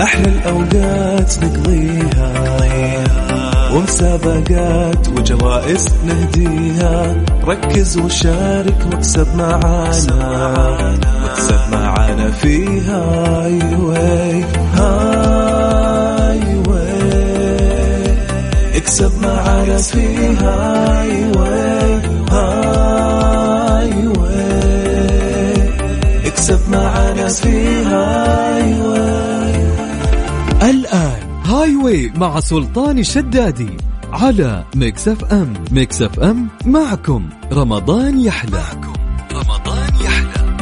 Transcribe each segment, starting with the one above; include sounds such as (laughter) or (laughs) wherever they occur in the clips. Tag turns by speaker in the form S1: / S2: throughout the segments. S1: أحلى الأوقات نقضيها ومسابقات وجوائز نهديها ركز وشارك واكسب معانا واكسب معانا في هاي واي هاي واي اكسب معانا في هاي واي هاي واي اكسب معانا في هاي واي
S2: الآن هاي واي مع سلطان الشدادي على ميكس اف ام ميكس اف ام معكم رمضان يحلى رمضان يحلى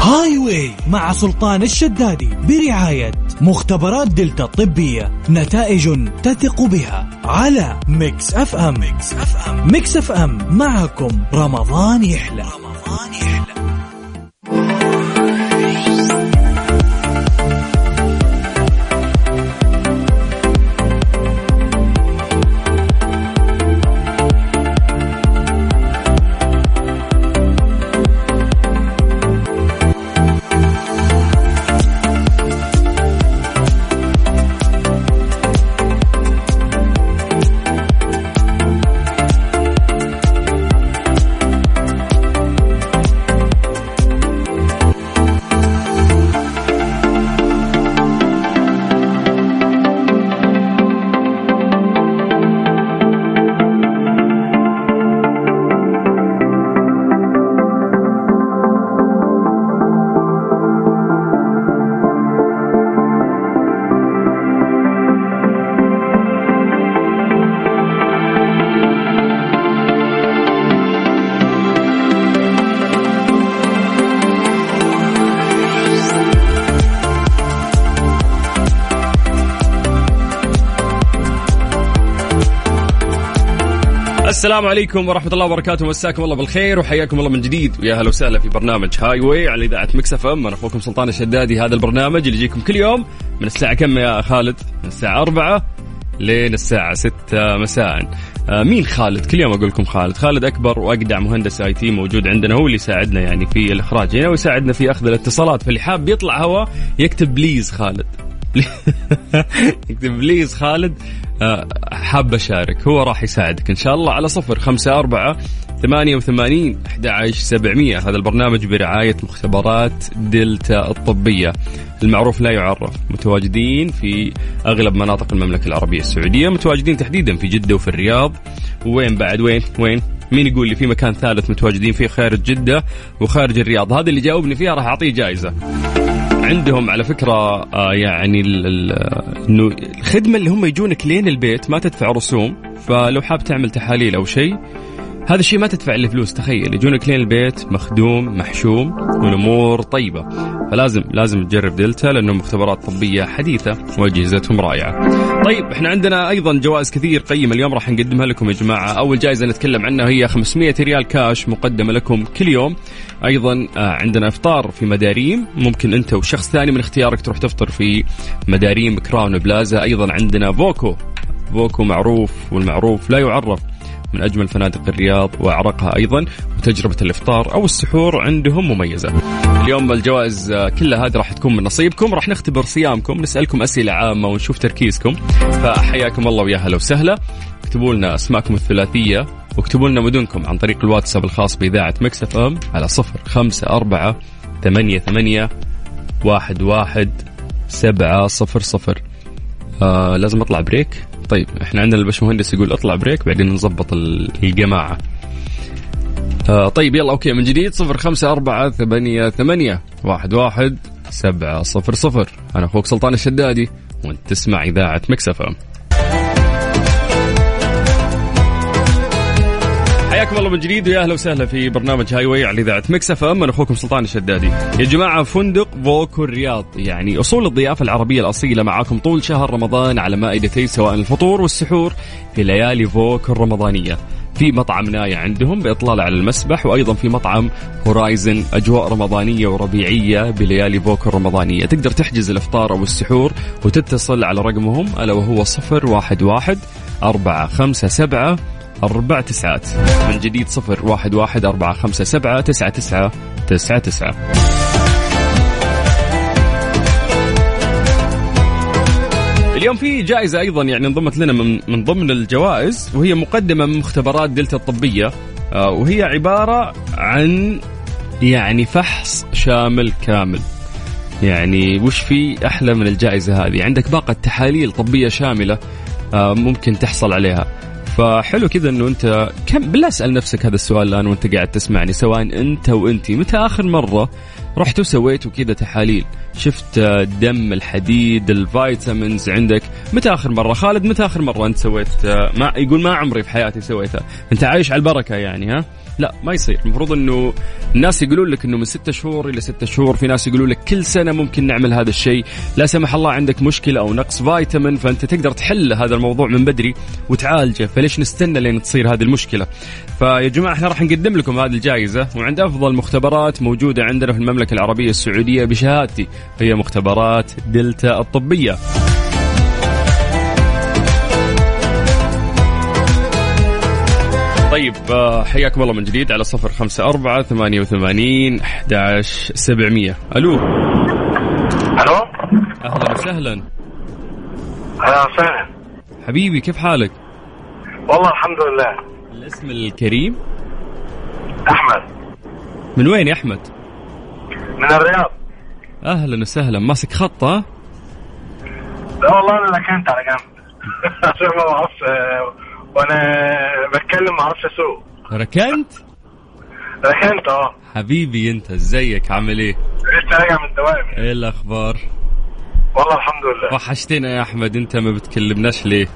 S3: هاي واي مع سلطان الشدادي برعاية مختبرات دلتا الطبية نتائج تثق بها على ميكس اف ام ميكس اف ام ميكس اف ام معكم رمضان يحلى رمضان يحلى
S4: السلام عليكم ورحمة الله وبركاته مساكم الله بالخير وحياكم الله من جديد ويا هلا وسهلا في برنامج هاي واي على إذاعة مكس اف ام أنا أخوكم سلطان الشدادي هذا البرنامج اللي يجيكم كل يوم من الساعة كم يا خالد؟ من الساعة 4 لين الساعة 6 مساء آه، مين خالد؟ كل يوم أقول لكم خالد خالد أكبر وأقدع مهندس اي تي موجود عندنا هو اللي يساعدنا يعني في الإخراج هنا ويساعدنا في أخذ الاتصالات فاللي حاب يطلع هوا يكتب بليز خالد (laughs) يكتب بليز خالد آه، حاب أشارك هو راح يساعدك إن شاء الله على صفر خمسة أربعة ثمانية وثمانين أحد عشر سبعمية هذا البرنامج برعاية مختبرات دلتا الطبية المعروف لا يعرف متواجدين في أغلب مناطق المملكة العربية السعودية متواجدين تحديدا في جدة وفي الرياض وين بعد وين وين مين يقول لي في مكان ثالث متواجدين فيه خارج جدة وخارج الرياض هذا اللي جاوبني فيه راح أعطيه جائزة عندهم على فكرة آه، يعني ال- ال- إنه الخدمة اللي هم يجونك لين البيت ما تدفع رسوم فلو حاب تعمل تحاليل أو شيء هذا الشيء ما تدفع له فلوس تخيل يجونك لين البيت مخدوم محشوم والامور طيبه فلازم لازم تجرب دلتا لانه مختبرات طبيه حديثه واجهزتهم رائعه. طيب احنا عندنا ايضا جوائز كثير قيمه اليوم راح نقدمها لكم يا جماعه، اول جائزه نتكلم عنها هي 500 ريال كاش مقدمه لكم كل يوم. ايضا آه، عندنا افطار في مداريم ممكن انت وشخص ثاني من اختيارك تروح تفطر في مداريم كراون بلازا، ايضا عندنا فوكو فوكو معروف والمعروف لا يعرف من أجمل فنادق الرياض وأعرقها أيضا وتجربة الإفطار أو السحور عندهم مميزة اليوم الجوائز آه، كلها هذه راح تكون من نصيبكم راح نختبر صيامكم نسألكم أسئلة عامة ونشوف تركيزكم فحياكم الله ويا هلا وسهلا اكتبوا لنا أسماءكم الثلاثية واكتبوا لنا مدنكم عن طريق الواتساب الخاص بإذاعة مكسف أم على صفر خمسة أربعة ثمانية ثمانية واحد واحد سبعة صفر صفر آه لازم اطلع بريك طيب احنا عندنا البشمهندس يقول اطلع بريك بعدين نظبط ال- الجماعه آه طيب يلا اوكي من جديد صفر خمسة أربعة ثمانية ثمانية واحد واحد سبعة صفر صفر أنا أخوك سلطان الشدادي وأنت تسمع إذاعة مكسفة حياكم الله من جديد ويا اهلا وسهلا في برنامج هاي واي على اذاعه مكس اف ام انا اخوكم سلطان الشدادي. يا جماعه فندق فوكو الرياض يعني اصول الضيافه العربيه الاصيله معاكم طول شهر رمضان على مائدتي سواء الفطور والسحور في ليالي فوكو الرمضانيه. في مطعم نايا عندهم باطلاله على المسبح وايضا في مطعم هورايزن اجواء رمضانيه وربيعيه بليالي فوكو الرمضانيه، تقدر تحجز الافطار او السحور وتتصل على رقمهم الا وهو 011 457 أربع تسعات من جديد صفر واحد واحد أربعة خمسة سبعة تسعة تسعة تسعة تسعة اليوم في جائزة أيضا يعني انضمت لنا من, من ضمن الجوائز وهي مقدمة من مختبرات دلتا الطبية آه، وهي عبارة عن يعني فحص شامل كامل يعني وش في أحلى من الجائزة هذه عندك باقة تحاليل طبية شاملة آه، ممكن تحصل عليها فحلو كذا انه انت كم بالله اسال نفسك هذا السؤال الان وانت قاعد تسمعني سواء انت وانتي متى اخر مره رحت وسويت كذا تحاليل شفت آه، دم الحديد الفيتامينز عندك متى اخر مره خالد متى اخر مره انت سويت آه، ما يقول ما عمري في حياتي سويتها انت عايش على البركه يعني ها لا ما يصير المفروض انه الناس يقولون لك انه من ستة شهور الى ستة شهور في ناس يقولون لك كل سنه ممكن نعمل هذا الشيء لا سمح الله عندك مشكله او نقص فيتامين فانت تقدر تحل هذا الموضوع من بدري وتعالجه فليش نستنى لين تصير هذه المشكله فيا جماعه احنا راح نقدم لكم هذه الجائزه وعند افضل مختبرات موجوده عندنا في المملكه العربيه السعوديه بشهادتي هي مختبرات دلتا الطبيه طيب آه، حياكم الله من جديد على صفر خمسة أربعة ثمانية وثمانين أحداش سبعمية ألو
S5: الو
S4: أهلا وسهلا
S5: اهلا وسهلا
S4: حبيبي كيف حالك؟
S5: والله الحمد لله
S4: الاسم الكريم
S5: احمد
S4: من وين يا أحمد؟
S5: من الرياض
S4: أهلا وسهلا ماسك خط ها؟
S5: لا والله انا كنت على جنب (laughs) عشان ما بعرفش آه، وانا بتكلم ما اعرفش اسوق
S4: ركنت؟
S5: ركنت اه
S4: حبيبي أنت ازيك عامل إيه؟
S5: لسه راجع من دوامي
S4: إيه الأخبار؟
S5: والله الحمد لله
S4: وحشتنا يا أحمد أنت ما بتكلمناش ليه؟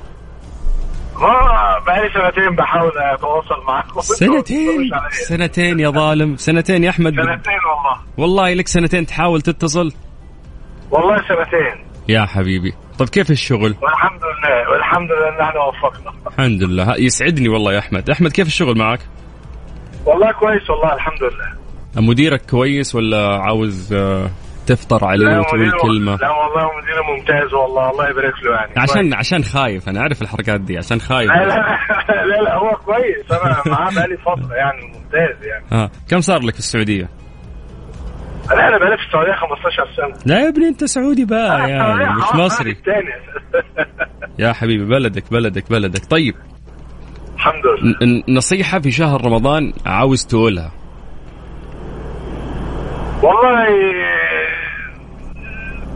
S5: ما بقالي سنتين بحاول اتواصل معاكم
S4: (laughs)
S5: (laughs)
S4: سنتين سنتين يا ظالم سنتين يا أحمد
S5: سنتين والله
S4: والله لك سنتين تحاول تتصل
S5: والله سنتين
S4: يا حبيبي طب كيف الشغل؟
S5: والحمد لله والحمد لله ان احنا وفقنا
S4: الحمد لله يسعدني والله يا احمد احمد كيف الشغل معك
S5: والله كويس والله الحمد لله
S4: مديرك كويس ولا عاوز آه، تفطر عليه
S5: لا
S4: وتقول
S5: مديره-
S4: كلمه
S5: لا والله مديره ممتاز والله الله يبارك له يعني
S4: عشان عشان خايف انا اعرف الحركات دي عشان خايف
S5: (laughs) لا لا- لا لا هو كويس انا معاه بقالي فتره يعني ممتاز يعني
S4: آه. كم صار لك في السعوديه
S5: لا انا بقالي في السعوديه 15 سنه
S4: لا يا ابني انت سعودي بقى يعني
S5: آه،
S4: مش
S5: آه،
S4: مصري
S5: التاني
S4: يا حبيبي بلدك بلدك بلدك طيب
S5: الحمد لله
S4: ن- ن- نصيحه في شهر رمضان عاوز تقولها
S5: والله آه،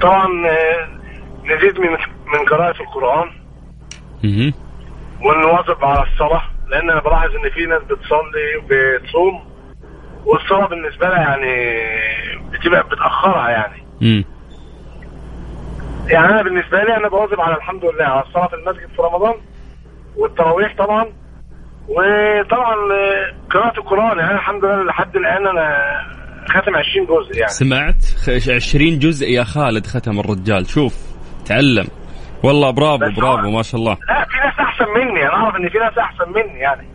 S5: طبعا آه، نزيد من من قراءه القران
S4: مهم.
S5: ونواظب على الصلاه لان انا بلاحظ ان في ناس بتصلي وبتصوم والصلاه بالنسبه لها يعني بتبقى بتاخرها يعني
S4: مم.
S5: يعني انا بالنسبه لي انا بواظب على الحمد لله على الصلاه في المسجد في رمضان والتراويح طبعا وطبعا آه، قراءه القران يعني الحمد لله لحد الان انا خاتم 20 جزء يعني
S4: سمعت خ- 20 جزء يا خالد ختم الرجال شوف تعلم والله برافو
S5: بس
S4: برافو
S5: هو-
S4: ما شاء الله
S5: لا في ناس احسن مني انا اعرف ان في ناس احسن مني يعني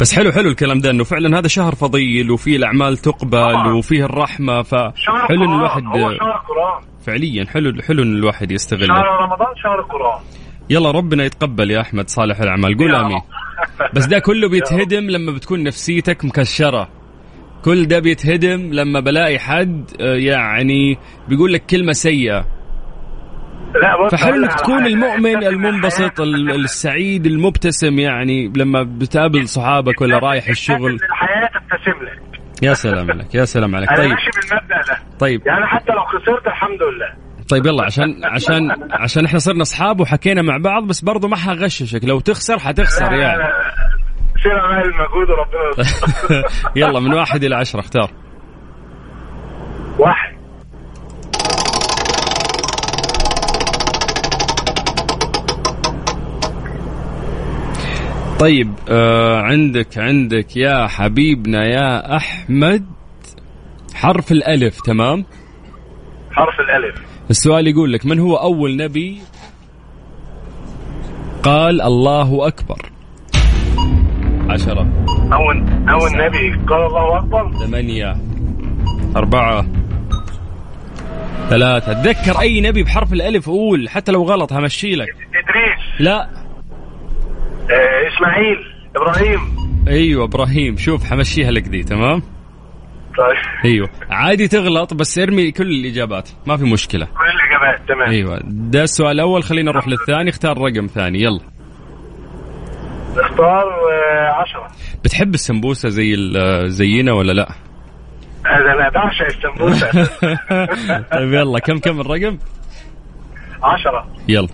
S4: بس حلو حلو الكلام ده انه فعلا هذا شهر فضيل وفيه الاعمال تقبل
S5: طبعاً.
S4: وفيه الرحمه
S5: شهر
S4: فحلو ان
S5: القران
S4: الواحد
S5: هو شهر القران
S4: فعليا حلو حلو ان الواحد يستغله
S5: شهر رمضان شهر القران
S4: يلا ربنا يتقبل يا احمد صالح الاعمال قول
S5: يا
S4: امين
S5: رب.
S4: بس ده
S5: (laughs)
S4: كله بيتهدم لما بتكون نفسيتك مكشره كل ده بيتهدم لما بلاقي حد آه، يعني بيقول لك كلمه سيئه
S5: لا بص
S4: فحلو
S5: أقول لك
S4: انك
S5: على
S4: تكون
S5: حاجة.
S4: المؤمن
S5: الحياة-
S4: المنبسط ال- السعيد المبتسم يعني لما بتقابل صحابك ولا رايح الشغل
S5: الحياه تبتسم لك
S4: يا سلام عليك يا سلام عليك
S5: انا
S4: طيب
S5: ماشي بالمبدا ده
S4: طيب
S5: يعني حتى لو خسرت الحمد لله
S4: طيب يلا عشان عشان عشان احنا صرنا اصحاب وحكينا مع بعض بس برضو ما حغششك لو تخسر حتخسر يعني (laughs)
S5: سير عمال المجهود وربنا يستر.
S4: يلا من واحد الى عشرة اختار
S5: واحد
S4: طيب آه عندك عندك يا حبيبنا يا احمد حرف الالف تمام
S5: حرف الالف
S4: السؤال يقول لك من هو اول نبي قال الله اكبر عشرة
S5: اول اول نبي قال الله اكبر
S4: ثمانية أربعة ثلاثة تذكر أي نبي بحرف الألف قول حتى لو غلط همشي لك
S5: ادريس
S4: لا
S5: آه اسماعيل ابراهيم
S4: أيوة إبراهيم شوف حمشيها لك دي تمام
S5: طيب
S4: أيوة عادي تغلط بس ارمي كل الإجابات ما في مشكلة
S5: كل تمام تمام
S4: ايوه ده السؤال الاول خلينا نروح للثاني اختار رقم ثاني يلا
S5: اختار آه، عشرة
S4: بتحب السمبوسه زي ال- زينا ولا لا؟ (laughs)
S5: هذا انا بعشق السمبوسه
S4: طيب يلا كم كم الرقم؟
S5: عشرة
S4: يلا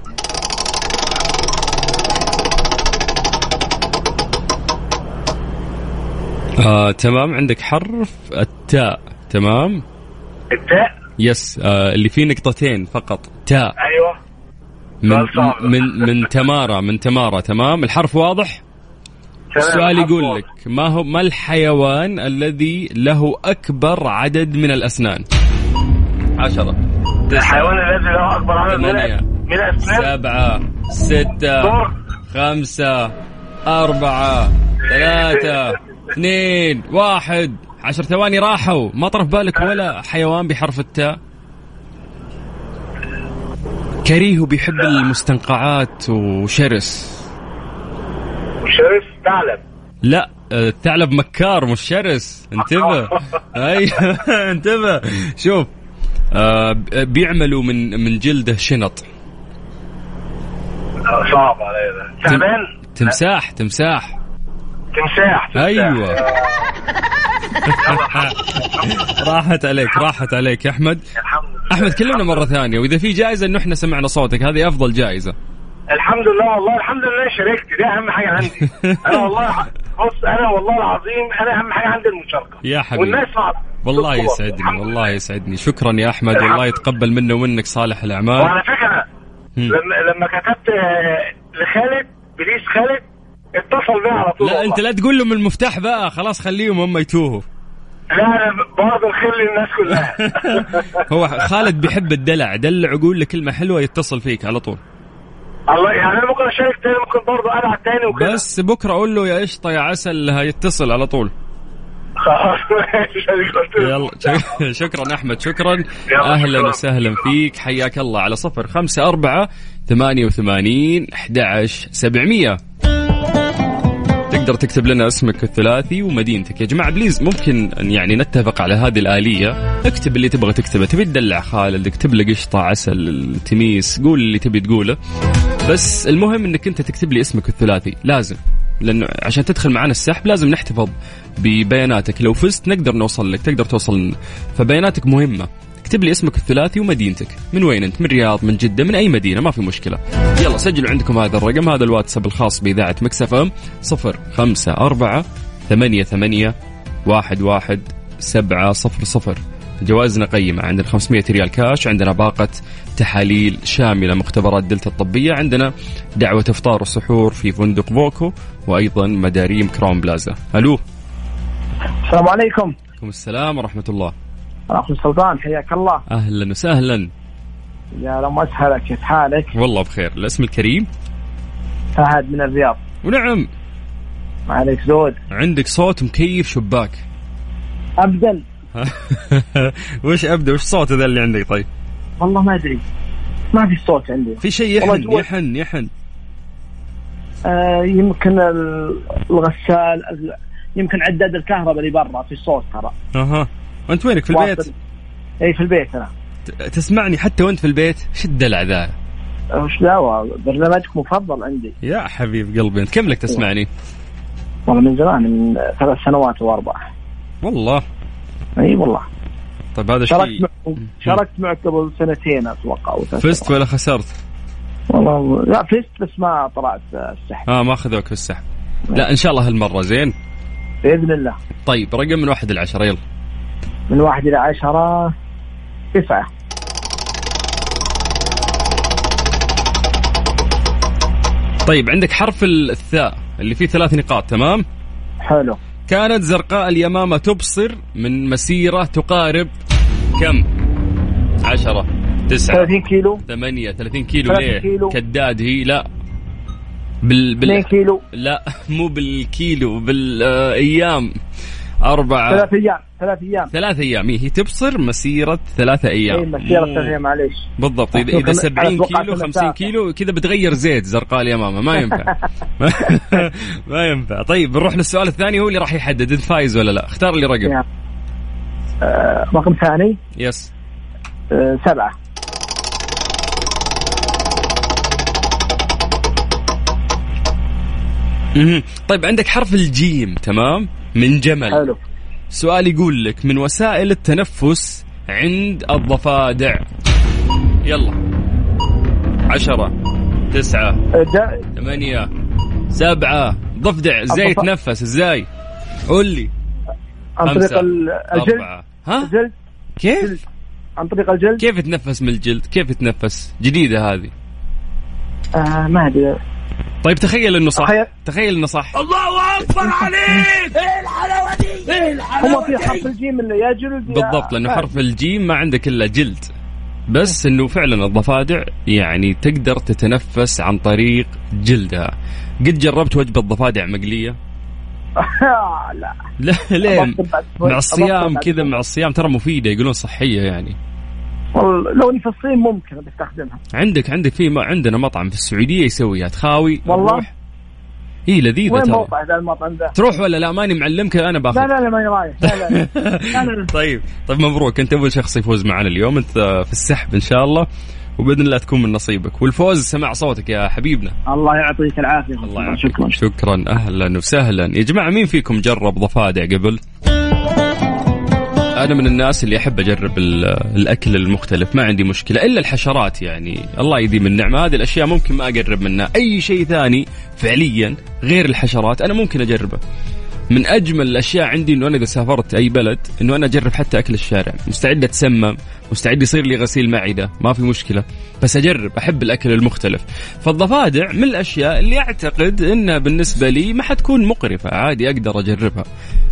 S4: آه، تمام عندك حرف التاء تمام
S5: التاء
S4: يس آه، اللي فيه نقطتين فقط تاء
S5: ايوه
S4: من
S5: سؤال صعب.
S4: من من تمارا من تمارا تمام الحرف واضح
S5: تمام،
S4: السؤال
S5: حرف
S4: يقول
S5: واضح.
S4: لك ما هو ما الحيوان الذي له اكبر عدد من الاسنان عشرة
S5: الحيوان الذي له اكبر عدد من
S4: ثمانية.
S5: من الاسنان
S4: سبعة ستة
S5: دور
S4: خمسة أربعة ثلاثة اثنين واحد عشر ثواني راحوا ما طرف بالك ولا حيوان بحرف التاء كريه بيحب المستنقعات وشرس
S5: وشرس ثعلب
S4: لا آه، الثعلب مكار مش شرس انتبه اي انتبه شوف آه، ب- بيعملوا من من جلده شنط
S5: آه، صعب علي ده تعبان
S4: تمساح تمساح
S5: تمساح تمساح.
S4: ايوه (laughs) راحت عليك راحت عليك يا احمد
S5: الحمد لله
S4: احمد كلمنا مره ثانيه واذا في جائزه انه احنا سمعنا صوتك هذه افضل جائزه
S5: الحمد لله والله الحمد لله شاركت دي اهم حاجه
S4: (laughs)
S5: عندي انا والله بص انا والله العظيم انا اهم حاجه عندي المشاركه
S4: يا حبيبي.
S5: والناس صعبه
S4: والله
S5: صدق
S4: يسعدني
S5: الحمد
S4: والله
S5: لله.
S4: يسعدني شكرا يا احمد والله يتقبل منا ومنك صالح الاعمال
S5: وعلى فكره
S4: هم.
S5: لما لما كتبت آه، لخالد بليز خالد اتصل بيا على طول
S4: لا
S5: والله.
S4: انت لا تقول لهم المفتاح بقى خلاص خليهم هم يتوهوا
S5: لا انا برضه الخير للناس
S4: (laughs)
S5: كلها
S4: هو خالد بيحب الدلع دلع وقول له كلمه حلوه يتصل فيك على طول
S5: الله يعني انا ممكن اشارك تاني ممكن برضه العب تاني وكده
S4: بس بكره اقول له يا قشطه يا عسل هيتصل على طول
S5: (laughs) خلاص ماشي أنا قلت له.
S4: يلا شك- (laughs) شكرا احمد شكرا
S5: يلا،
S4: اهلا
S5: شكراً.
S4: وسهلا فيك حياك الله على صفر خمسة أربعة ثمانية وثمانين أحد سبعمية تقدر تكتب لنا اسمك الثلاثي ومدينتك يا جماعة بليز ممكن أن يعني نتفق على هذه الآلية اكتب اللي تبغى تكتبه تبي تدلع خالد اكتب له قشطة عسل تميس قول اللي تبي تقوله بس المهم انك انت تكتب لي اسمك الثلاثي لازم لانه عشان تدخل معنا السحب لازم نحتفظ ببياناتك لو فزت نقدر نوصل لك تقدر توصل لنا فبياناتك مهمه اكتب لي اسمك الثلاثي ومدينتك من وين انت من الرياض من جده من اي مدينه ما في مشكله يلا سجلوا عندكم هذا الرقم هذا الواتساب الخاص باذاعه مكسف ام 054 88 11 700 جوائزنا قيمة عندنا 500 ريال كاش عندنا باقة تحاليل شاملة مختبرات دلتا الطبية عندنا دعوة إفطار وسحور في فندق فوكو وأيضا مداريم كراون بلازا ألو
S6: السلام عليكم
S4: عليكم السلام ورحمة الله
S6: انا اخو سلطان حياك الله
S4: أهلا وسهلا
S6: يا لو ما اسهلك كيف حالك
S4: والله بخير الاسم الكريم
S6: فهد من الرياض
S4: ونعم
S6: ما عليك زود
S4: عندك صوت مكيف شباك (laughs)
S6: ابدا
S4: وش أبدأ وش صوت ذا اللي عندك طيب
S6: والله ما ادري ما في صوت عندي
S4: في شيء
S6: والله
S4: يحن
S6: جوا-
S4: يحن يحن
S6: آه يمكن ال- الغسال ال- يمكن عداد الكهرباء اللي برا في صوت ترى
S4: أها أنت وينك في البيت
S6: واصل. اي في البيت انا
S4: ت- تسمعني حتى وأنت في البيت شو الدلع ذا
S6: آه، وش دعوه برنامجك مفضل عندي
S4: يا حبيب قلبي انت كم لك تسمعني؟
S6: والله من زمان من ثلاث سنوات واربع
S4: والله
S6: اي والله
S4: طيب هذا
S6: شاركت
S4: شيء
S6: معك شاركت معك قبل سنتين اتوقع او ثلاث
S4: فزت
S6: سنوات.
S4: ولا خسرت؟
S6: والله لا فزت بس ما طلعت آه، السحب
S4: اه ما اخذوك في السحب لا ان شاء الله هالمره زين
S6: باذن الله
S4: طيب رقم من واحد لعشرة يلا
S6: من واحد إلى عشرة تسعة
S4: طيب عندك حرف ال- الثاء اللي فيه ثلاث نقاط تمام
S6: حلو
S4: آه. كانت زرقاء اليمامة تبصر من مسيرة تقارب كم عشرة تسعة
S6: 30 كيلو
S4: ثمانية ثلاثين كيلو
S6: 30
S4: ليه
S6: كيلو.
S4: كداد هي لا بال...
S6: 2
S4: بال...
S6: كيلو
S4: لا مو بالكيلو بالايام أربعة
S6: ثلاث أيام ثلاث أيام
S4: ثلاث ايام هي تبصر مسيرة ثلاثة
S6: اي
S4: ايام
S6: مسيرة ثلاث أيام معليش
S4: بالضبط اذا
S6: أتوقع-
S4: اذا 70
S6: أتوقع
S4: كيلو
S6: في
S4: 50
S6: المسافة.
S4: كيلو كذا بتغير زيت زرقاء اليمامة ما
S6: (laughs)
S4: ينفع (laughs) ما- ما ينفع طيب بنروح للسؤال الثاني هو اللي راح يحدد انت فايز ولا لا اختار لي رقم
S6: يا. آه رقم ثاني
S4: يس
S6: آه سبعة
S4: مهم. طيب عندك حرف الجيم تمام من جمل
S6: حلو
S4: سؤال يقول لك من وسائل التنفس عند الضفادع يلا عشرة تسعة
S6: الد-
S4: ثمانية سبعة ضفدع ازاي
S6: الضفا-
S4: يتنفس ازاي قول لي
S6: عن
S4: خمسة
S6: طريق ال- الجلد
S4: أربعة ها
S6: الجلد
S4: كيف
S6: جلد. عن طريق الجلد
S4: كيف يتنفس من الجلد كيف يتنفس جديدة هذه
S6: آه ما ادري
S4: طيب تخيل انه صح
S6: أخي-
S4: تخيل انه صح
S6: هو في حرف الجيم اللي يا جلد يا
S4: بالضبط لانه
S6: آه.
S4: حرف الجيم ما عندك الا جلد بس انه فعلا الضفادع يعني تقدر تتنفس عن طريق جلدها قد جربت وجبه ضفادع مقليه
S6: آه، لا
S4: لا (laughs) ليه
S6: أبطل بعد شوي.
S4: مع الصيام
S6: أبطل بعد
S4: كذا
S6: شوي.
S4: مع الصيام ترى مفيده يقولون صحيه يعني
S6: والله لو اني في الصين ممكن بستخدمها
S4: عندك عندك في ما عندنا مطعم في السعوديه يسويها تخاوي
S6: والله؟
S4: هي لذيذه
S6: وين
S4: ترى
S6: موقع ذا المطعم ذا؟
S4: تروح ولا لا ماني معلمك انا باخذ
S6: لا لا لا ماني رايح لا لا
S4: (laughs)
S6: لا. لا لا لا.
S4: طيب طيب مبروك انت اول شخص يفوز معنا اليوم انت في السحب ان شاء الله وباذن الله تكون من نصيبك والفوز سماع صوتك يا حبيبنا
S6: الله يعطيك العافيه
S4: الله يعافيك.
S6: شكرا
S4: شكرا اهلا وسهلا يا جماعه مين فيكم جرب ضفادع قبل انا من الناس اللي احب اجرب ال- الاكل المختلف ما عندي مشكله الا الحشرات يعني الله يديم النعمه هذه الاشياء ممكن ما اقرب منها اي شيء ثاني فعليا غير الحشرات انا ممكن اجربه من اجمل الاشياء عندي انه انا اذا سافرت اي بلد انه انا اجرب حتى اكل الشارع مستعد اتسمم مستعد يصير لي غسيل معده ما في مشكله بس اجرب احب الاكل المختلف فالضفادع من الاشياء اللي اعتقد انها بالنسبه لي ما حتكون مقرفه عادي اقدر اجربها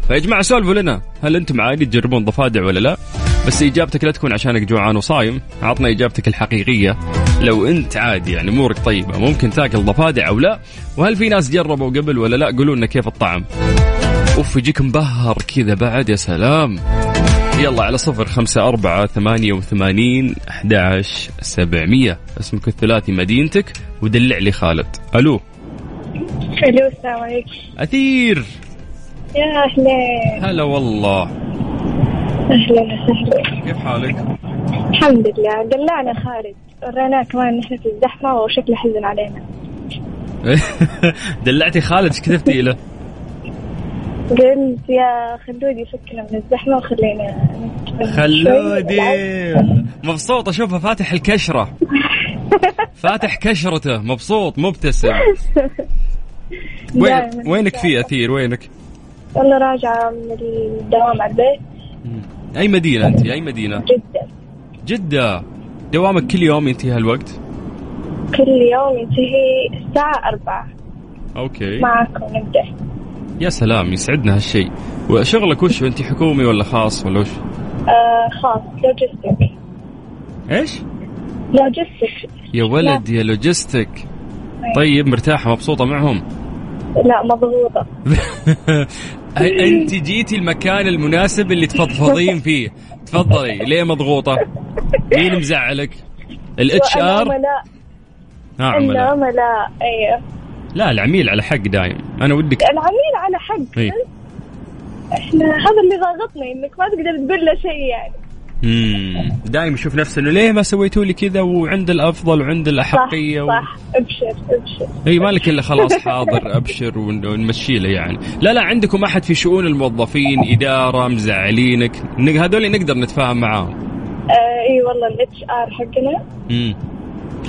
S4: فيا جماعه سولفوا لنا هل انتم عادي تجربون ضفادع ولا لا بس اجابتك لا تكون عشانك جوعان وصايم عطنا اجابتك الحقيقيه لو انت عادي يعني امورك طيبه ممكن تاكل ضفادع او لا وهل في ناس جربوا قبل ولا لا قولوا لنا كيف الطعم اوف يجيك مبهر كذا بعد يا سلام يلا على صفر خمسة أربعة ثمانية وثمانين أحداش سبعمية اسمك الثلاثي مدينتك ودلع لي خالد ألو
S7: الو السلام عليكم
S4: أثير
S7: يا اهلين
S4: هلا والله
S7: اهلا وسهلا
S4: كيف حالك؟ (laughs)
S7: الحمد لله دلعنا خالد وريناه كمان نحن في الزحمه وشكله حزن علينا
S4: دلعتي خالد ايش كتبتي له؟
S7: قلت يا خلودي فكنا من الزحمه وخلينا نتكلم
S4: خلودي
S7: شوي.
S4: مبسوط اشوفها فاتح الكشره فاتح كشرته مبسوط مبتسم وين
S7: دايماً.
S4: وينك في اثير وينك؟
S7: والله راجعه من الدوام على البيت
S4: اي مدينه انت اي مدينه؟
S7: جدا
S4: جدة دوامك كل يوم ينتهي هالوقت
S7: كل يوم ينتهي الساعه أربعة
S4: اوكي
S7: معاكم نبدا
S4: يا سلام يسعدنا هالشيء وشغلك وش انت حكومي ولا خاص ولا وش
S7: آه خاص لوجيستيك
S4: ايش
S7: لوجيستيك
S4: يا ولد يا لوجيستيك طيب مرتاحة مبسوطة معهم
S7: لا مضغوطه
S4: انت جيتي المكان المناسب اللي
S7: (laughs)
S4: تفضفضين فيه تفضلي ليه مضغوطة مين مزعلك الاتش
S7: وأنا
S4: ار
S7: عملاء أمم.
S4: نعم
S7: العملاء ايوه
S4: لا العميل على حق دايم انا ودك
S7: العميل على حق
S4: إيه.
S7: احنا هذا اللي ضاغطني انك ما تقدر تقول له شيء يعني أمم.
S4: مم. أمم. دايم يشوف نفسه انه ليه ما سويتوا لي كذا وعند الافضل وعند
S7: صح
S4: الاحقيه و...
S7: صح ابشر ابشر
S4: اي مالك الا خلاص حاضر ابشر ون- ونمشي له يعني لا لا عندكم احد في شؤون الموظفين اداره مزعلينك نق- هذول نقدر نتفاهم معاهم
S7: آه اي والله الاتش ار حقنا
S4: امم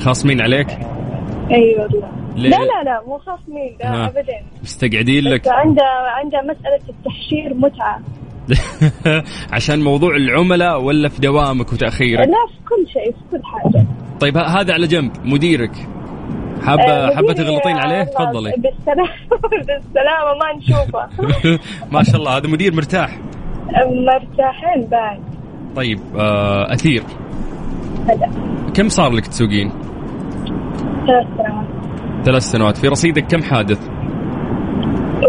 S4: خاصمين عليك
S7: اي والله
S4: ليه؟
S7: لا لا لا مو خاف مين لا
S4: ها.
S7: ابدا
S4: مستقعدين لك (laughs)
S7: عنده عنده مساله التحشير متعه
S4: عشان موضوع العملاء ولا في دوامك وتاخيرك
S7: لا في كل شيء في كل حاجه
S4: طيب ه- هذا على جنب مديرك
S7: آه،
S4: حابه حابه
S7: مديري،
S4: تغلطين
S7: آه،
S4: عليه
S7: الله،
S4: تفضلي
S7: (laughs) بالسلامه بالسلامه ما نشوفه
S4: (laughs) ما شاء الله هذا مدير مرتاح
S7: مرتاحين بعد
S4: طيب آه اثير
S7: هذا
S4: كم صار لك تسوقين؟
S7: ثلاث سنوات
S4: ثلاث سنوات في رصيدك كم حادث؟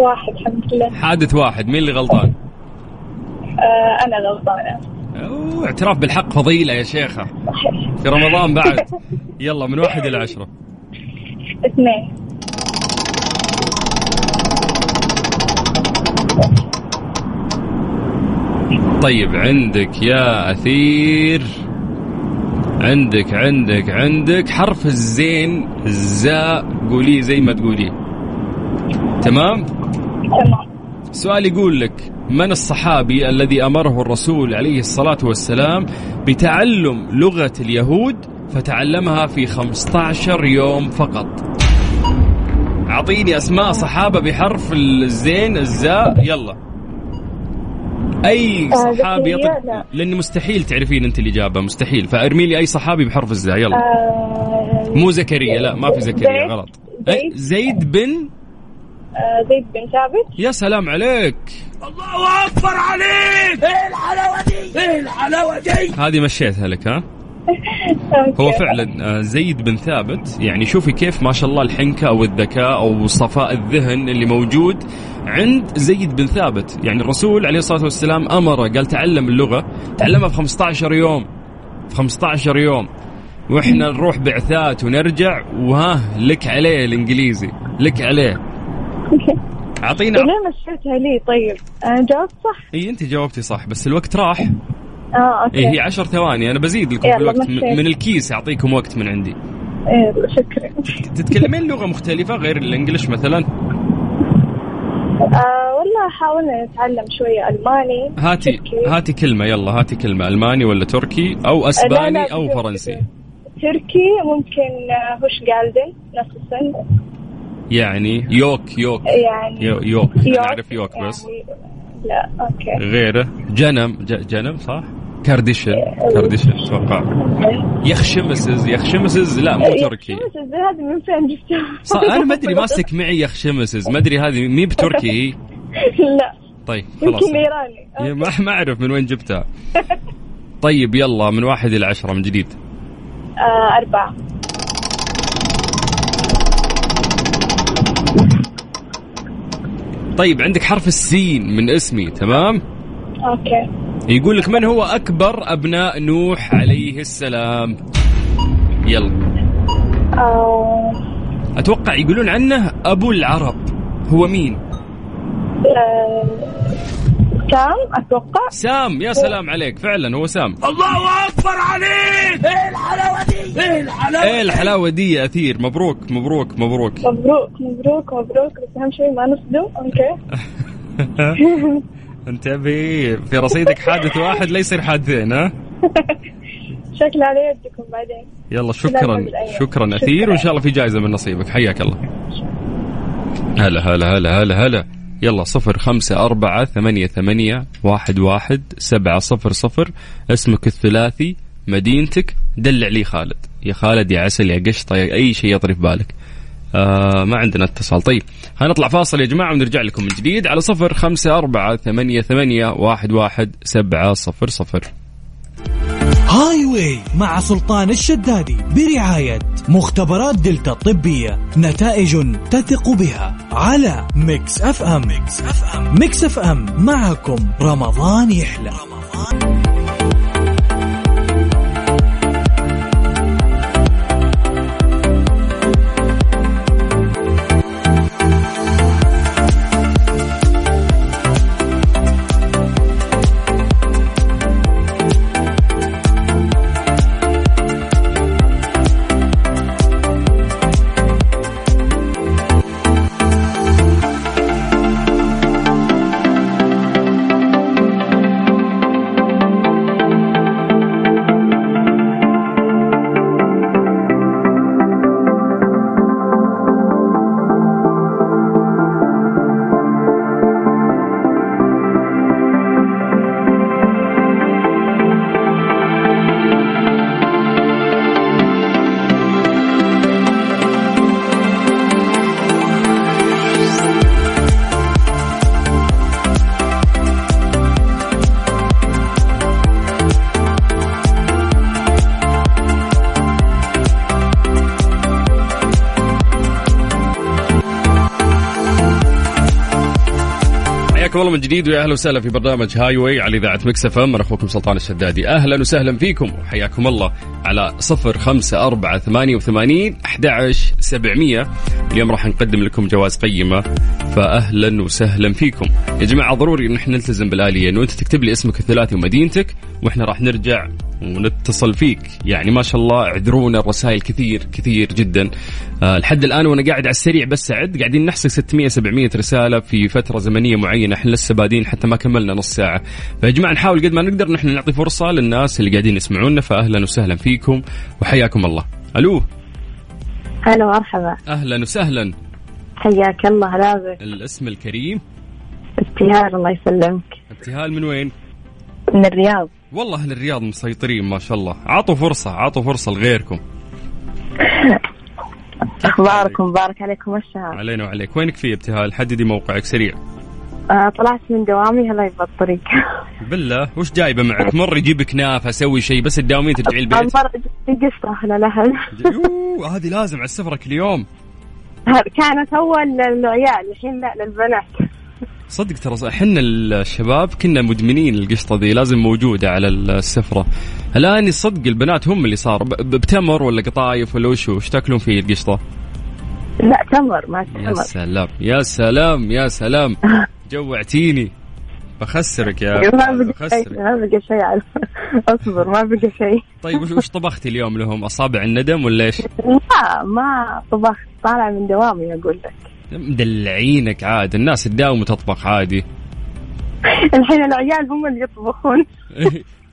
S7: واحد الحمد لله
S4: حادث واحد مين اللي غلطان؟
S7: آه انا غلطانه
S4: أوه، اعتراف بالحق فضيلة يا شيخة
S7: صحيح
S4: في رمضان بعد يلا من واحد إلى عشرة
S7: اثنين
S4: طيب عندك يا أثير عندك عندك عندك حرف الزين الزاء قولي زي ما تقولي تمام
S7: تمام
S4: سؤال يقول لك من الصحابي الذي أمره الرسول عليه الصلاة والسلام بتعلم لغة اليهود فتعلمها في 15 يوم فقط أعطيني أسماء صحابة بحرف الزين الزاء يلا أي
S7: آه،
S4: صحابي
S7: زكريا؟
S4: يطلق
S7: لا.
S4: لأن مستحيل تعرفين أنت الإجابة مستحيل فأرمي لي أي صحابي بحرف الزاء يلا
S7: آه،
S4: مو زكريا لا ما في زكريا
S7: زيد.
S4: غلط
S7: زيد.
S4: أي، زيد بن
S7: آه، زيد بن ثابت
S4: يا سلام عليك الله اكبر عليك ايه الحلاوه دي ايه الحلاوه دي هذه مشيتها لك ها
S7: إيه.
S4: هو فعلا آه، زيد بن ثابت يعني شوفي كيف ما شاء الله الحنكه او الذكاء او صفاء الذهن اللي موجود عند زيد بن ثابت يعني الرسول عليه الصلاه والسلام امره قال تعلم اللغه تعلمها في 15 يوم في 15 يوم واحنا نروح بعثات ونرجع وها لك عليه الانجليزي لك عليه اعطينا
S7: ليه مشيتها لي طيب آه، جاوبت صح
S4: اي انت جاوبتي صح بس الوقت راح
S7: اه اوكي
S4: اي إيه، هي 10 ثواني انا بزيد لكم في
S7: يلا،
S4: الوقت
S7: مسيك.
S4: م- من الكيس اعطيكم وقت من عندي
S7: يلا، شكرا
S4: تتكلمين لغه مختلفه غير الانجليش مثلا
S7: آه والله حاولنا نتعلم شوية ألماني
S4: هاتي
S7: تركي.
S4: هاتي كلمه يلا هاتي كلمه الماني ولا تركي او
S7: آه، لا، لا،
S4: اسباني او
S7: تركي.
S4: فرنسي
S7: تركي ممكن آه، هوش جالدن نفس السن
S4: يعني يوك يوك
S7: يعني
S4: يو- يوك
S7: يوك.
S4: نعرف يوك بس
S7: يعني- لا اوكي
S4: غيره جنم ج- جنم صح كارديشن
S7: إيه،
S4: كارديشن اتوقع يخشمسز يخشمسز لا مو إيه، تركي
S7: إيه، شو بس الزي هذه من فين جبتها؟
S4: صح انا ما ادري ماسك معي يخشمسز ما ادري هذه مي بتركي هي
S7: (laughs) لا
S4: طيب خلاص
S7: يمكن ايراني
S4: يا ما ما اعرف من وين جبتها طيب يلا من واحد الى عشرة من جديد
S7: آه أربعة
S4: طيب عندك حرف السين من اسمي تمام
S7: اوكي
S4: يقول لك من هو اكبر ابناء نوح عليه السلام يلا
S7: آه
S4: اتوقع يقولون عنه ابو العرب هو مين
S7: آه، سام اتوقع
S4: سام يا سلام عليك فعلا هو سام الله اكبر عليك ايه الحلاوه دي ايه الحلاوه ايه الحلاوه دي يا اثير مبروك مبروك مبروك
S7: مبروك مبروك مبروك بس اهم شيء ما نصدم اوكي
S4: انتبهي في رصيدك حادث واحد لا يصير حادثين ها
S7: شكلي على يدكم بعدين
S4: يلا
S7: لا،
S4: شكرا
S7: قبل أيام.
S4: شكرا
S7: شكراً.
S4: اثير وان شاء الله في جائزه من نصيبك حياك الله هلا هلا هلا هلا هلا يلا صفر خمسة أربعة ثمانية ثمانية واحد واحد سبعة صفر صفر اسمك الثلاثي مدينتك دلع لي خالد يا خالد يا عسل يا قشطة يا أي شيء يطري في بالك آه ما عندنا اتصال طيب هنطلع فاصل يا جماعة ونرجع لكم من جديد على صفر خمسة أربعة ثمانية ثمانية واحد واحد سبعة صفر صفر
S3: هاي واي مع سلطان الشدادي برعاية مختبرات دلتا الطبية نتائج تثق بها على ميكس اف ام ميكس اف ام ميكس اف ام معكم رمضان يحلى
S4: حياكم الله من جديد ويا اهلا وسهلا في برنامج هاي واي على اذاعه مكس اف ام انا اخوكم سلطان الشدادي اهلا وسهلا فيكم وحياكم الله على صفر خمسة أربعة ثمانية وثمانين أحد سبعمية اليوم راح نقدم لكم جواز قيمة فأهلا وسهلا فيكم يا جماعة ضروري إن احنا نلتزم بالآلية إنه أنت تكتب لي اسمك الثلاثي ومدينتك وإحنا راح نرجع ونتصل فيك يعني ما شاء الله اعذرونا الرسائل كثير كثير جدا آه، لحد الان وانا قاعد على السريع بس سعد قاعدين نحصل 600 700 رساله في فتره زمنيه معينه احنا لسه بادين حتى ما كملنا نص ساعه فيا جماعه نحاول قد ما نقدر نحن نعطي فرصه للناس اللي قاعدين يسمعونا فاهلا وسهلا فيكم وحياكم الله الو
S8: هلا مرحبا
S4: اهلا وسهلا
S8: حياك الله لازم
S4: الاسم الكريم
S8: ابتهال الله يسلمك
S4: ابتهال من وين
S8: من الرياض
S4: والله اهل الرياض مسيطرين ما شاء الله عطوا فرصه عطوا فرصه لغيركم
S8: اخباركم مبارك عليكم الشهر
S4: علينا وعليك وينك في ابتهال حددي موقعك سريع
S8: آه طلعت من دوامي هلا يبغى الطريق (laughs)
S4: بالله وش جايبه معك مر يجيبك نافه سوي شيء بس تداومين ترجعي البيت
S8: المرة قصة هنا لها
S4: يوه هذه لازم على سفرك اليوم
S8: كانت اول للعيال الحين لا للبنات
S4: صدق ترى احنا الشباب كنا مدمنين القشطه ذي لازم موجوده على السفره الان الصدق البنات هم اللي صار ب- ب- بتمر ولا قطايف ولا وش وش تاكلون فيه القشطه
S8: لا تمر ما
S4: يا
S8: تمر
S4: سلام يا سلام يا
S8: (laughs)
S4: سلام جوعتيني بخسرك يا
S8: ما بقى
S4: بخسرك
S8: شيء ما بقى شيء على- اصبر ما بقى شيء
S4: طيب وش- وش طبختي اليوم لهم اصابع الندم ولا ايش؟
S8: لا ما طبخت طالعة من دوامي اقول لك
S4: مدلعينك عاد الناس تداوم وتطبخ عادي
S8: الحين العيال هم اللي يطبخون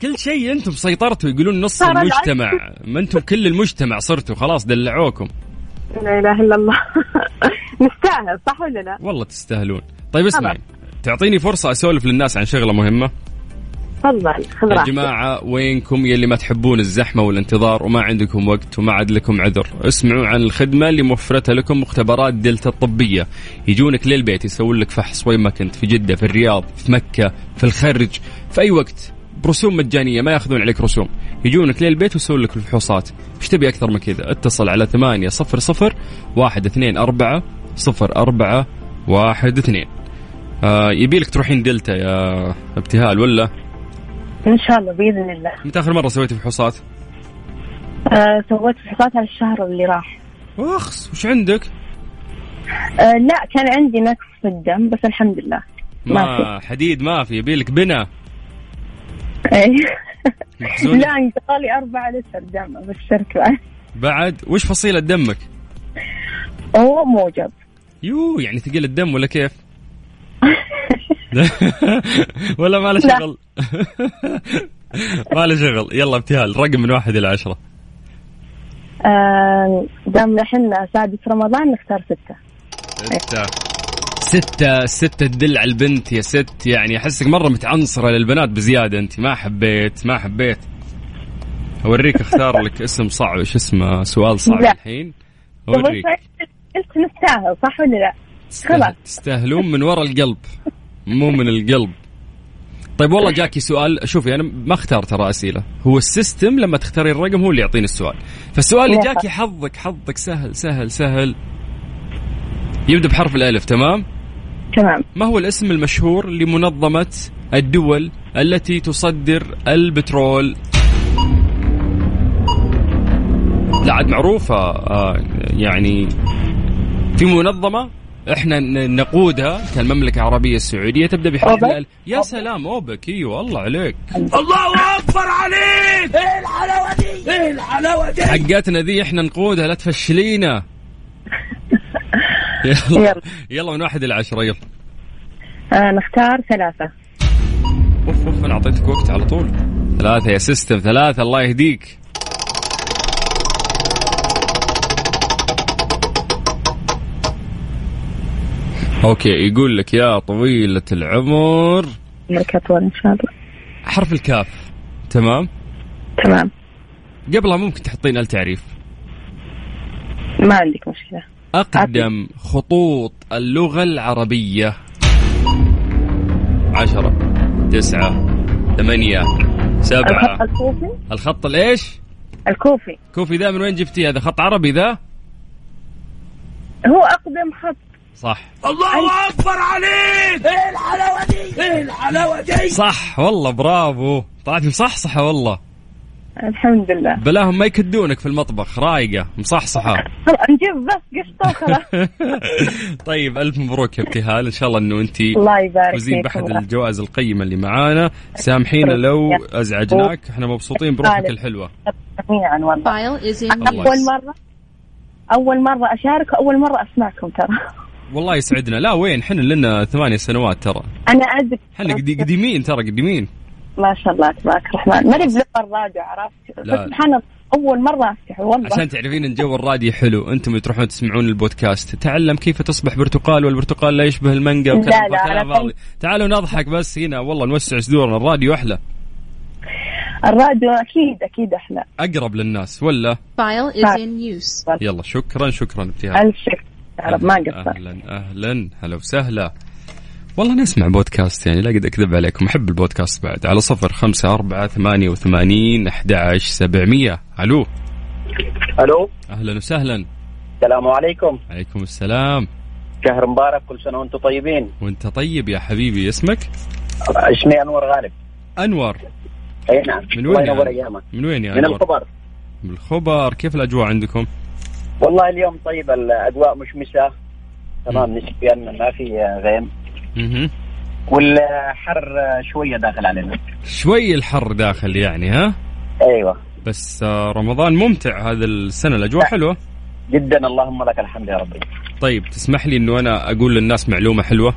S4: كل شيء انتم سيطرتوا يقولون نص
S8: ترى العكس.
S4: المجتمع ما انتم كل المجتمع صرتوا خلاص دلعوكم
S8: لا اله الا الله (laughs) نستاهل صح ولا لا؟
S4: والله تستاهلون طيب اسمعي تعطيني فرصة اسولف للناس عن شغلة مهمة
S8: تفضل خذ
S4: يا
S8: راحتك.
S4: جماعة وينكم يلي ما تحبون الزحمة والانتظار وما عندكم وقت وما عاد لكم عذر اسمعوا عن الخدمة اللي موفرتها لكم مختبرات دلتا الطبية يجونك للبيت يسوون لك فحص وين ما كنت في جدة في الرياض في مكة في الخرج في أي وقت برسوم مجانية ما ياخذون عليك رسوم يجونك للبيت ويسوون لك الفحوصات ايش تبي أكثر من كذا اتصل على 8 0 0 1 2 4 0 4 1 2 آه يبيلك تروحين دلتا يا ابتهال ولا
S8: ان شاء الله باذن الله
S4: متى اخر مره سويتي فحوصات؟
S8: آه سويت فحوصات على الشهر اللي راح
S4: اخس وش عندك؟
S8: آه لا كان عندي نقص في الدم بس الحمد لله ما (laughs)
S4: ما حديد ما في يبيلك بنا
S8: إيه.
S4: محزون
S8: لا انتقالي أربعة لتر دم ابشرك بعد
S4: بعد وش فصيله دمك؟
S8: هو موجب
S4: يو يعني ثقيل الدم ولا كيف؟ (laughs) ولا ما له
S8: لا.
S4: شغل (laughs) ما له شغل يلا ابتهال رقم من واحد الى عشرة
S8: آه دام نحن سادس رمضان نختار ستة
S4: ستة ستة ستة تدل على البنت يا ست يعني احسك مرة متعنصرة للبنات بزيادة انت ما حبيت ما حبيت اوريك اختار لك اسم صعب ايش اسمه سؤال صعب
S8: لا.
S4: الحين اوريك
S8: قلت نستاهل صح ولا لا؟
S4: تستاهل-
S8: طيب، خلاص.
S4: تستاهلون من ورا القلب مو من القلب طيب والله جاكي سؤال شوفي انا ما اختار ترى اسئله هو السيستم لما تختاري الرقم هو اللي يعطيني السؤال فالسؤال اللي
S8: يا
S4: جاكي حظك حظك سهل سهل سهل يبدا بحرف الالف تمام
S8: تمام
S4: ما هو الاسم المشهور لمنظمه الدول التي تصدر البترول لا عاد معروفة آه، يعني في منظمة احنا ن- نقودها كالمملكة العربية السعودية تبدا بحرف
S8: أوبك؟
S4: الألف يا سلام اوبك ايوه الله عليك
S8: إيه
S4: الله اكبر عليك ايه الحلاوة دي ايه الحلاوة دي حقتنا ذي احنا نقودها لا
S8: (laughs)
S4: تفشلينا يلا
S8: يلا.
S4: يلا من واحد إلى عشرة يلا
S8: آه نختار ثلاثة
S4: اوف اوف انا اعطيتك وقت على طول ثلاثة يا سيستم ثلاثة الله يهديك اوكي يقول لك يا طويلة العمر
S8: عمرك أطول إن شاء الله
S4: حرف الكاف تمام
S8: تمام
S4: قبلها ممكن تحطين التعريف
S8: ما عندك مشكلة
S4: أقدم خطوط اللغة العربية عشرة تسعة ثمانية سبعة
S8: الخط الكوفي
S4: الخط الإيش؟
S8: الكوفي
S4: كوفي ذا من وين جبتيه هذا خط عربي ذا؟
S8: هو أقدم خط
S4: صح
S8: إيه
S4: الله اكبر عليك ايه الحلاوه دي ايه الحلاوه دي صح والله برافو طلعت مصحصحه والله
S8: الحمد لله
S4: بلاهم ما يكدونك في المطبخ رايقه مصحصحه
S8: خلاص، نجيب بس قشطة وخلاص (laughs)
S4: طيب الف مبروك يا ابتهال ان شاء الله انه انت
S8: الله يبارك
S4: فوزين
S8: فيك
S4: باحد
S8: والله.
S4: الجوائز القيمه اللي معانا سامحينا لو
S8: يا.
S4: ازعجناك احنا مبسوطين بروحك
S8: خالد.
S4: الحلوه
S8: جميعا والله
S9: File is in
S4: الله
S8: أول
S4: يس-
S8: مرة أول مرة أشارك وأول مرة أسمعكم ترى
S4: والله يسعدنا لا وين حنا لنا ثمانية سنوات ترى
S8: أنا أدري
S4: حنا قدي- قديمين ترى قديمين
S8: ما شاء الله تبارك الرحمن ماني بلغة الراديو عرفت بس
S4: لا.
S8: سبحان الله أول مرة أفتح والله (laughs)
S4: عشان تعرفين ان جو الراديو حلو انتم اللي تروحون تسمعون البودكاست تعلم كيف تصبح برتقال والبرتقال لا يشبه المانجا
S8: لا،
S4: وكلام
S8: لا،
S4: كلام
S8: أنا
S4: فاضي تعالوا نضحك بس هنا والله نوسع صدورنا الراديو احلى
S8: الراديو أكيد أكيد أحلى
S4: اقرب للناس ولا
S9: File is in use.
S4: يلا شكرا شكرا ابتهال
S8: ألف شكر يا رب ما قصر
S4: اهلا اهلا هلا وسهلا والله أنا أسمع بودكاست يعني لا قد أكذب عليكم أحب البودكاست بعد على صفر خمسة أربعة ثمانية وثمانين أحد عشر سبعمية ألو
S10: الو
S4: أهلا وسهلا
S10: السلام عليكم
S4: عليكم السلام
S10: شهر مبارك كل سنه وانتم طيبين
S4: وانت طيب يا حبيبي اسمك
S10: اسمي انور غالب
S4: أنور
S10: اي نعم
S4: من وين
S10: الله ينور
S4: يا-
S10: ايامك
S4: من وين يا
S10: من
S4: أنور
S10: الخبر
S4: من الخبر كيف الأجواء عندكم
S10: والله اليوم طيب الاجواء مشمسه تمام نسبيا ما في غيم
S4: مهم.
S10: والحر شويه داخل علينا
S4: شوي الحر داخل يعني ها
S10: ايوه
S4: بس آه، رمضان ممتع هذا السنة الأجواء حلوة
S10: جدا اللهم لك الحمد يا ربي
S4: طيب تسمح لي أنه أنا أقول للناس معلومة حلوة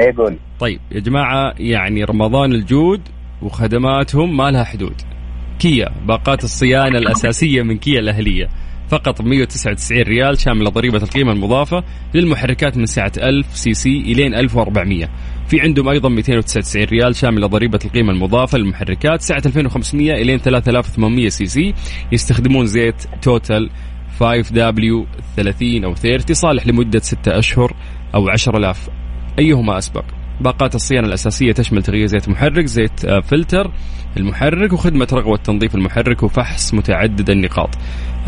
S10: يقول
S4: طيب يا جماعة يعني رمضان الجود وخدماتهم ما لها حدود كيا باقات الصيانة الأساسية من كيا الأهلية فقط 199 ريال شاملة ضريبة القيمة المضافة للمحركات من سعة 1000 سي سي إلين 1400 في عندهم أيضا 299 ريال شاملة ضريبة القيمة المضافة للمحركات سعة 2500 إلين 3800 سي سي يستخدمون زيت توتال 5W 30 أو 30 صالح لمدة 6 أشهر أو 10000 أيهما أسبق باقات الصيانة الأساسية تشمل تغيير زيت محرك زيت آه، فلتر المحرك وخدمة رغوة تنظيف المحرك وفحص متعدد النقاط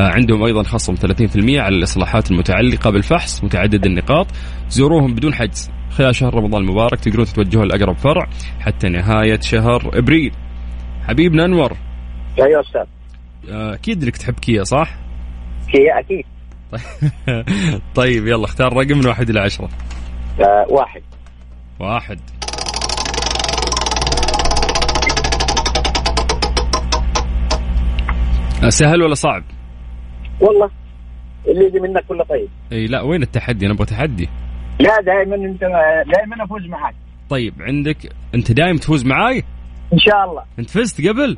S4: آه، عندهم أيضا خصم 30% على الإصلاحات المتعلقة بالفحص متعدد النقاط زوروهم بدون حجز خلال شهر رمضان المبارك تقدرون تتوجهوا لأقرب فرع حتى نهاية شهر إبريل حبيبنا أنور
S10: ايوه استاذ
S4: آه، أكيد إنك تحب كيا صح؟ (laughs)
S10: كي اكيد
S4: طيب يلا اختار رقم من واحد إلى عشرة
S10: آه، واحد
S4: واحد سهل ولا صعب؟
S10: والله اللي يجي منك كله طيب
S4: اي لا وين التحدي؟ انا ابغى تحدي.
S10: لا دائما انت دائما افوز معك
S4: طيب عندك انت دايم تفوز معاي؟
S10: ان شاء الله
S4: انت فزت قبل؟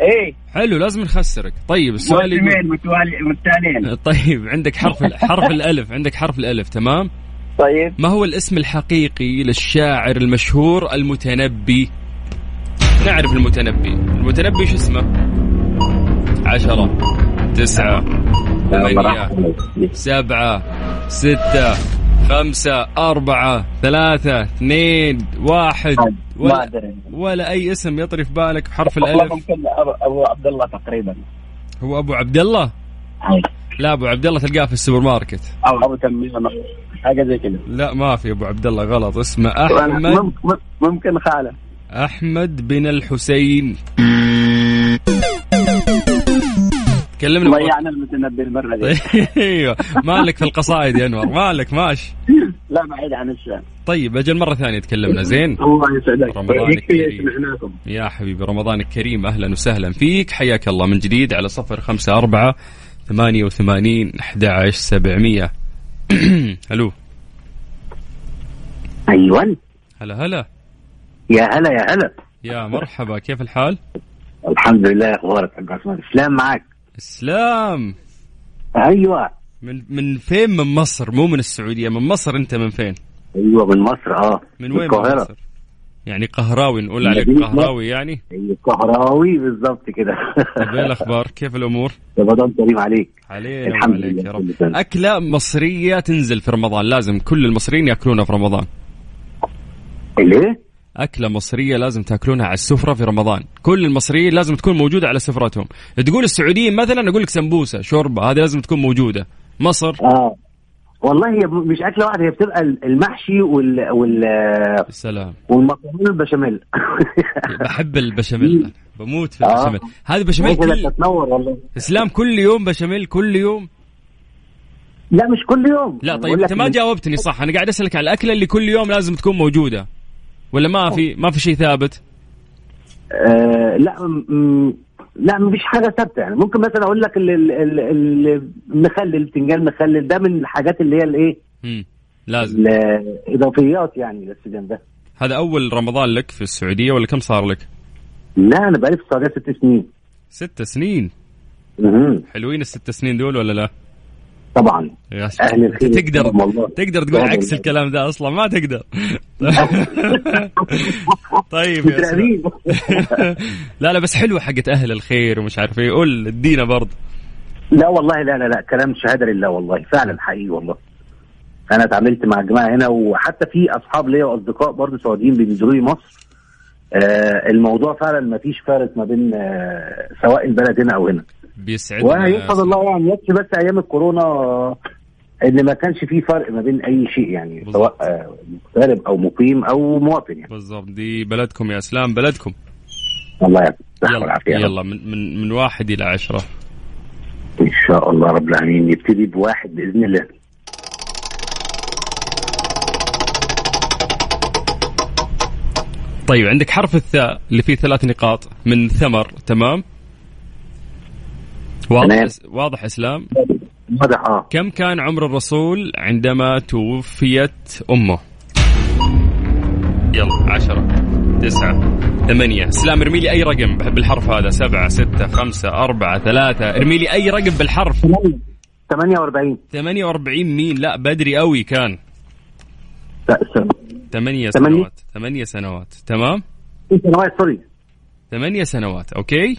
S10: ايه
S4: حلو لازم نخسرك. طيب السؤال يقول
S10: موسمين متوالي- متتالين
S4: (laughs) طيب عندك حرف ال- حرف الالف، عندك حرف الالف تمام؟
S10: طيب
S4: ما هو الاسم الحقيقي للشاعر المشهور المتنبي؟ نعرف المتنبي، المتنبي شو اسمه؟ عشرة تسعة ثمانية سبعة ستة خمسة أربعة ثلاثة اثنين واحد
S10: ما
S4: ولا,
S10: ادري
S4: ولا أي اسم يطري في بالك بحرف
S10: والله
S4: الألف
S10: ممكن أبو- ابو عبد الله تقريبا
S4: هو أبو عبد الله لا أبو عبد الله تلقاه في السوبر ماركت
S10: او ابو تميم حاجه زي كذا
S4: لا ما في أبو عبد الله غلط اسمه أحمد
S10: مم- مم- ممكن خاله
S4: أحمد بن الحسين كلمنا بغ-
S10: ضيعنا المتنبي المره دي
S4: (laughs) ايوه مالك في القصائد يا انور مالك ماش
S10: لا بعيد عن الشام
S4: طيب اجل مره ثانيه تكلمنا زين
S10: الله يسعدك
S4: رمضان
S10: يكفي
S4: الكريم.
S10: سمعناكم
S4: يا حبيبي رمضان الكريم أهلا وسهلا فيك حياك الله من جديد على صفر خمسة أربعة ثمانية وثمانين أحد عشر سبعمية (clears throat) ألو
S10: ايوه
S4: هلا هلا
S10: يا هلا يا هلا
S4: يا مرحبا كيف الحال؟
S10: الحمد لله اخبارك عبد الرحمن اسلام معك
S4: إسلام
S10: ايوه
S4: من من فين من مصر مو من السعودية من مصر أنت من فين؟
S10: ايوه من مصر اه
S4: من وين من
S10: القاهره
S4: مصر؟ يعني قهراوي نقول عليك
S10: مدينة
S4: قهراوي يعني
S10: أيوة، قهراوي بالظبط كده
S4: طيب إيه الأخبار كيف الأمور؟
S10: رمضان كريم عليك
S4: علينا
S10: الحمد
S4: وعليك
S10: لله،
S4: يا
S10: كله
S4: رب
S10: تمام.
S4: أكلة مصرية تنزل في رمضان لازم كل المصريين يأكلونها في رمضان
S10: ليه؟
S4: أكلة مصرية لازم تاكلونها على السفرة في رمضان، كل المصريين لازم تكون موجودة على سفرتهم، تقول السعوديين مثلا أقول لك سمبوسة، شوربة، هذه لازم تكون موجودة، مصر
S10: اه والله هي مش اكله واحده هي بتبقى المحشي وال وال
S4: سلام
S10: والمكرونه البشاميل
S4: (laughs) بحب البشاميل أنا. بموت في
S10: آه.
S4: البشاميل هذا بشاميل
S10: ممكن
S4: كل
S10: تتنور والله
S4: اسلام كل يوم بشاميل كل يوم
S10: لا مش كل يوم
S4: لا طيب
S10: بقول لك
S4: انت ما
S10: من-
S4: جاوبتني صح انا قاعد اسالك على الاكله اللي كل يوم لازم تكون موجوده ولا ما في ما في شيء ثابت
S10: آه لا م- م- لا مفيش حاجه ثابته يعني ممكن مثلا اقول لك ال- ال- ال- ال- المخلل البتنجان المخلل ده من الحاجات اللي هي الايه
S4: مم. لازم
S10: الاضافيات يعني للسجن ده
S4: هذا اول رمضان لك في السعوديه ولا كم صار لك
S10: لا انا بقالي في السعوديه ست سنين
S4: ست سنين
S10: مهم.
S4: حلوين الست سنين دول ولا لا
S10: طبعا
S4: يا
S10: أهل الخير.
S4: تقدر
S10: والله.
S4: تقدر تقول
S10: والله.
S4: عكس الكلام ده اصلا ما
S10: (laughs)
S4: تقدر طيب يا سلام.
S10: متراقبين.
S4: (laughs) لا لا بس حلوه حقت اهل الخير ومش عارف ايه قول ادينا برضه
S10: لا والله لا لا لا كلام شهاده لله والله فعلا حقيقي والله انا اتعاملت مع الجماعه هنا وحتى في اصحاب ليا واصدقاء برضه سعوديين بينزلوا لي مصر آه الموضوع فعلا ما فيش فارق ما بين آه سواء البلد هنا او هنا
S4: بيسعدنا
S10: ويحفظ الله يعني يكفي بس ايام الكورونا آه، ان ما كانش فيه فرق ما بين اي شيء يعني سواء آه، مغترب او مقيم او مواطن يعني
S4: بالضبط دي بلدكم يا اسلام بلدكم
S10: الله يعطيك الصحة
S4: يلا
S10: والعافية.
S4: يلا من من من واحد الى عشره
S10: ان شاء الله رب العالمين نبتدي بواحد باذن الله
S4: طيب عندك حرف الثاء اللي فيه ثلاث نقاط من ثمر تمام واضح
S10: تمام.
S4: واضح اسلام
S10: واضح اه
S4: كم كان عمر الرسول عندما توفيت امه يلا عشرة تسعة ثمانية اسلام ارمي لي اي رقم بحب الحرف هذا سبعة ستة خمسة أربعة ثلاثة ارمي لي اي رقم بالحرف
S10: 48
S4: 48 مين لا بدري قوي كان
S10: لا سوري.
S4: ثمانية
S10: ثمانية.
S4: سنوات ثمانية سنوات تمام
S10: سنوات سوري
S4: ثمانية سنوات اوكي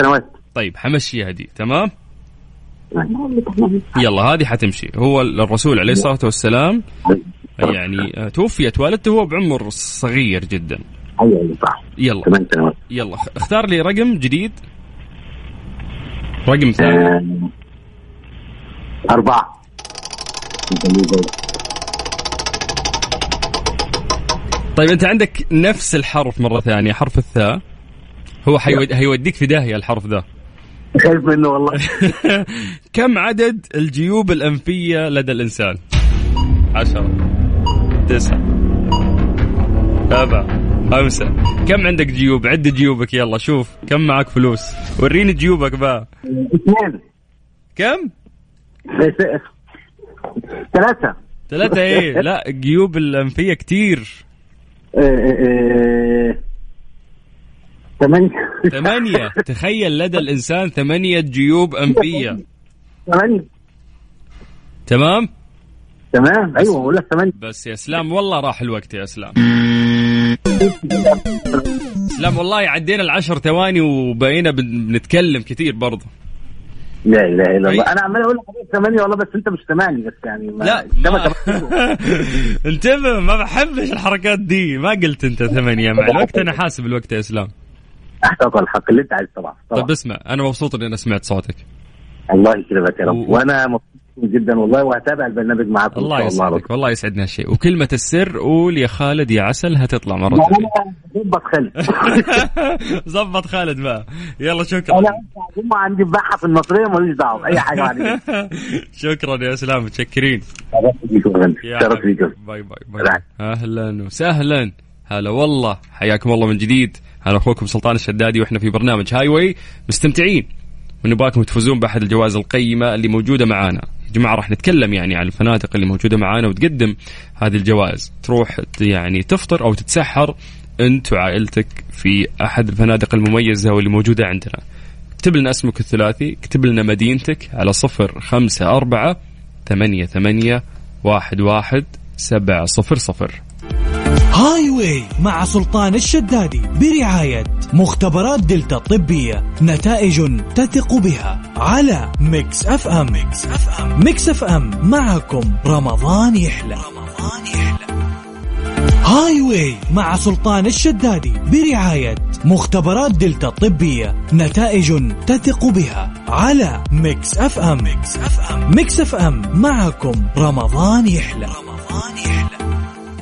S10: سنوات
S4: طيب حمشيها دي تمام يلا هذه حتمشي هو الرسول عليه الصلاة والسلام يعني آه، توفيت والدته وهو بعمر صغير جدا
S10: ايوه ايوه صح
S4: يلا
S10: ثمان سنوات
S4: يلا خ- اختار لي رقم جديد رقم ثاني
S10: آه، أربعة
S4: طيب انت عندك نفس الحرف مرة ثانية حرف الثاء هو حيود... هيوديك في داهية الحرف ذا
S10: خايف منه والله
S4: كم عدد الجيوب الأنفية لدى الإنسان؟ عشرة تسعة سبعة خمسة كم عندك جيوب؟ عد جيوبك يلا شوف كم معك فلوس؟ وريني جيوبك بقى
S10: اثنين
S4: كم؟
S10: ثلاثة
S4: ثلاثة ايه؟ لا الجيوب الأنفية كتير
S10: آه، آه، آه، ثمانية
S4: ثمانية تخيل لدى الإنسان ثمانية جيوب أنفية
S10: ثمانية
S4: تمام؟
S10: تمام ايوه بقول لك ثمانية
S4: بس يا اسلام والله راح الوقت يا اسلام اسلام والله عدينا العشر ثواني وبقينا بن- بنتكلم كثير برضه
S10: لا اله الا الله
S4: أي.
S10: انا عمال اقول لك عليك ثمانية والله بس انت مش سامعني بس يعني ما
S4: طيب. لا
S10: ده ما
S4: (laughs) ما انتبه ما بحبش الحركات دي ما قلت انت ثمانية مع الوقت انا حاسب الوقت يا اسلام
S10: احقق الحق اللي انت عايز طبعا طبعا
S4: طب اسمع انا مبسوط اني انا سمعت صوتك
S10: الله يكرمك يا رب
S4: و-
S10: وانا مبسوط جدا والله وهتابع البرنامج معاكم
S4: الله
S10: ان شاء الله
S4: يسعدك والله يسعدنا هالشيء وكلمة السر قول يا خالد يا عسل هتطلع مرة
S10: ما
S4: ثانية
S10: انا ظبط
S4: (laughs)
S10: خالد
S4: زبط خالد بقى يلا شكرا
S10: انا هم عندي مباحة المصريه ماليش دعوه باي حاجه
S4: (laughs)
S10: بعد كده
S4: شكرا يا اسلام متشكرين
S10: شرف ليك يا فندم.
S4: يا
S10: شرف
S4: حبيبي.
S10: ليك يا فندم.
S4: باي باي باي اهلا وسهلا هلا والله حياكم الله من جديد انا اخوكم سلطان الشدادي واحنا في برنامج هاي واي مستمتعين ونباكم تفوزون باحد الجوائز القيمه اللي موجوده معانا يا جماعه راح نتكلم يعني عن الفنادق اللي موجوده معانا وتقدم هذه الجوائز تروح ت- يعني تفطر او تتسحر انت وعائلتك في احد الفنادق المميزه واللي موجوده عندنا اكتب لنا اسمك الثلاثي اكتب لنا مدينتك على صفر خمسة أربعة ثمانية ثمانية واحد واحد سبعة صفر صفر
S3: هاي واي مع سلطان الشدادي برعاية مختبرات دلتا الطبية نتائج تثق بها على ميكس اف ام ميكس اف ام ميكس اف ام معكم رمضان يحلى رمضان يحلى هاي واي مع سلطان الشدادي برعاية
S1: مختبرات دلتا الطبية نتائج تثق بها على ميكس اف ام ميكس اف ام ميكس اف ام معكم رمضان يحلى رمضان يحلى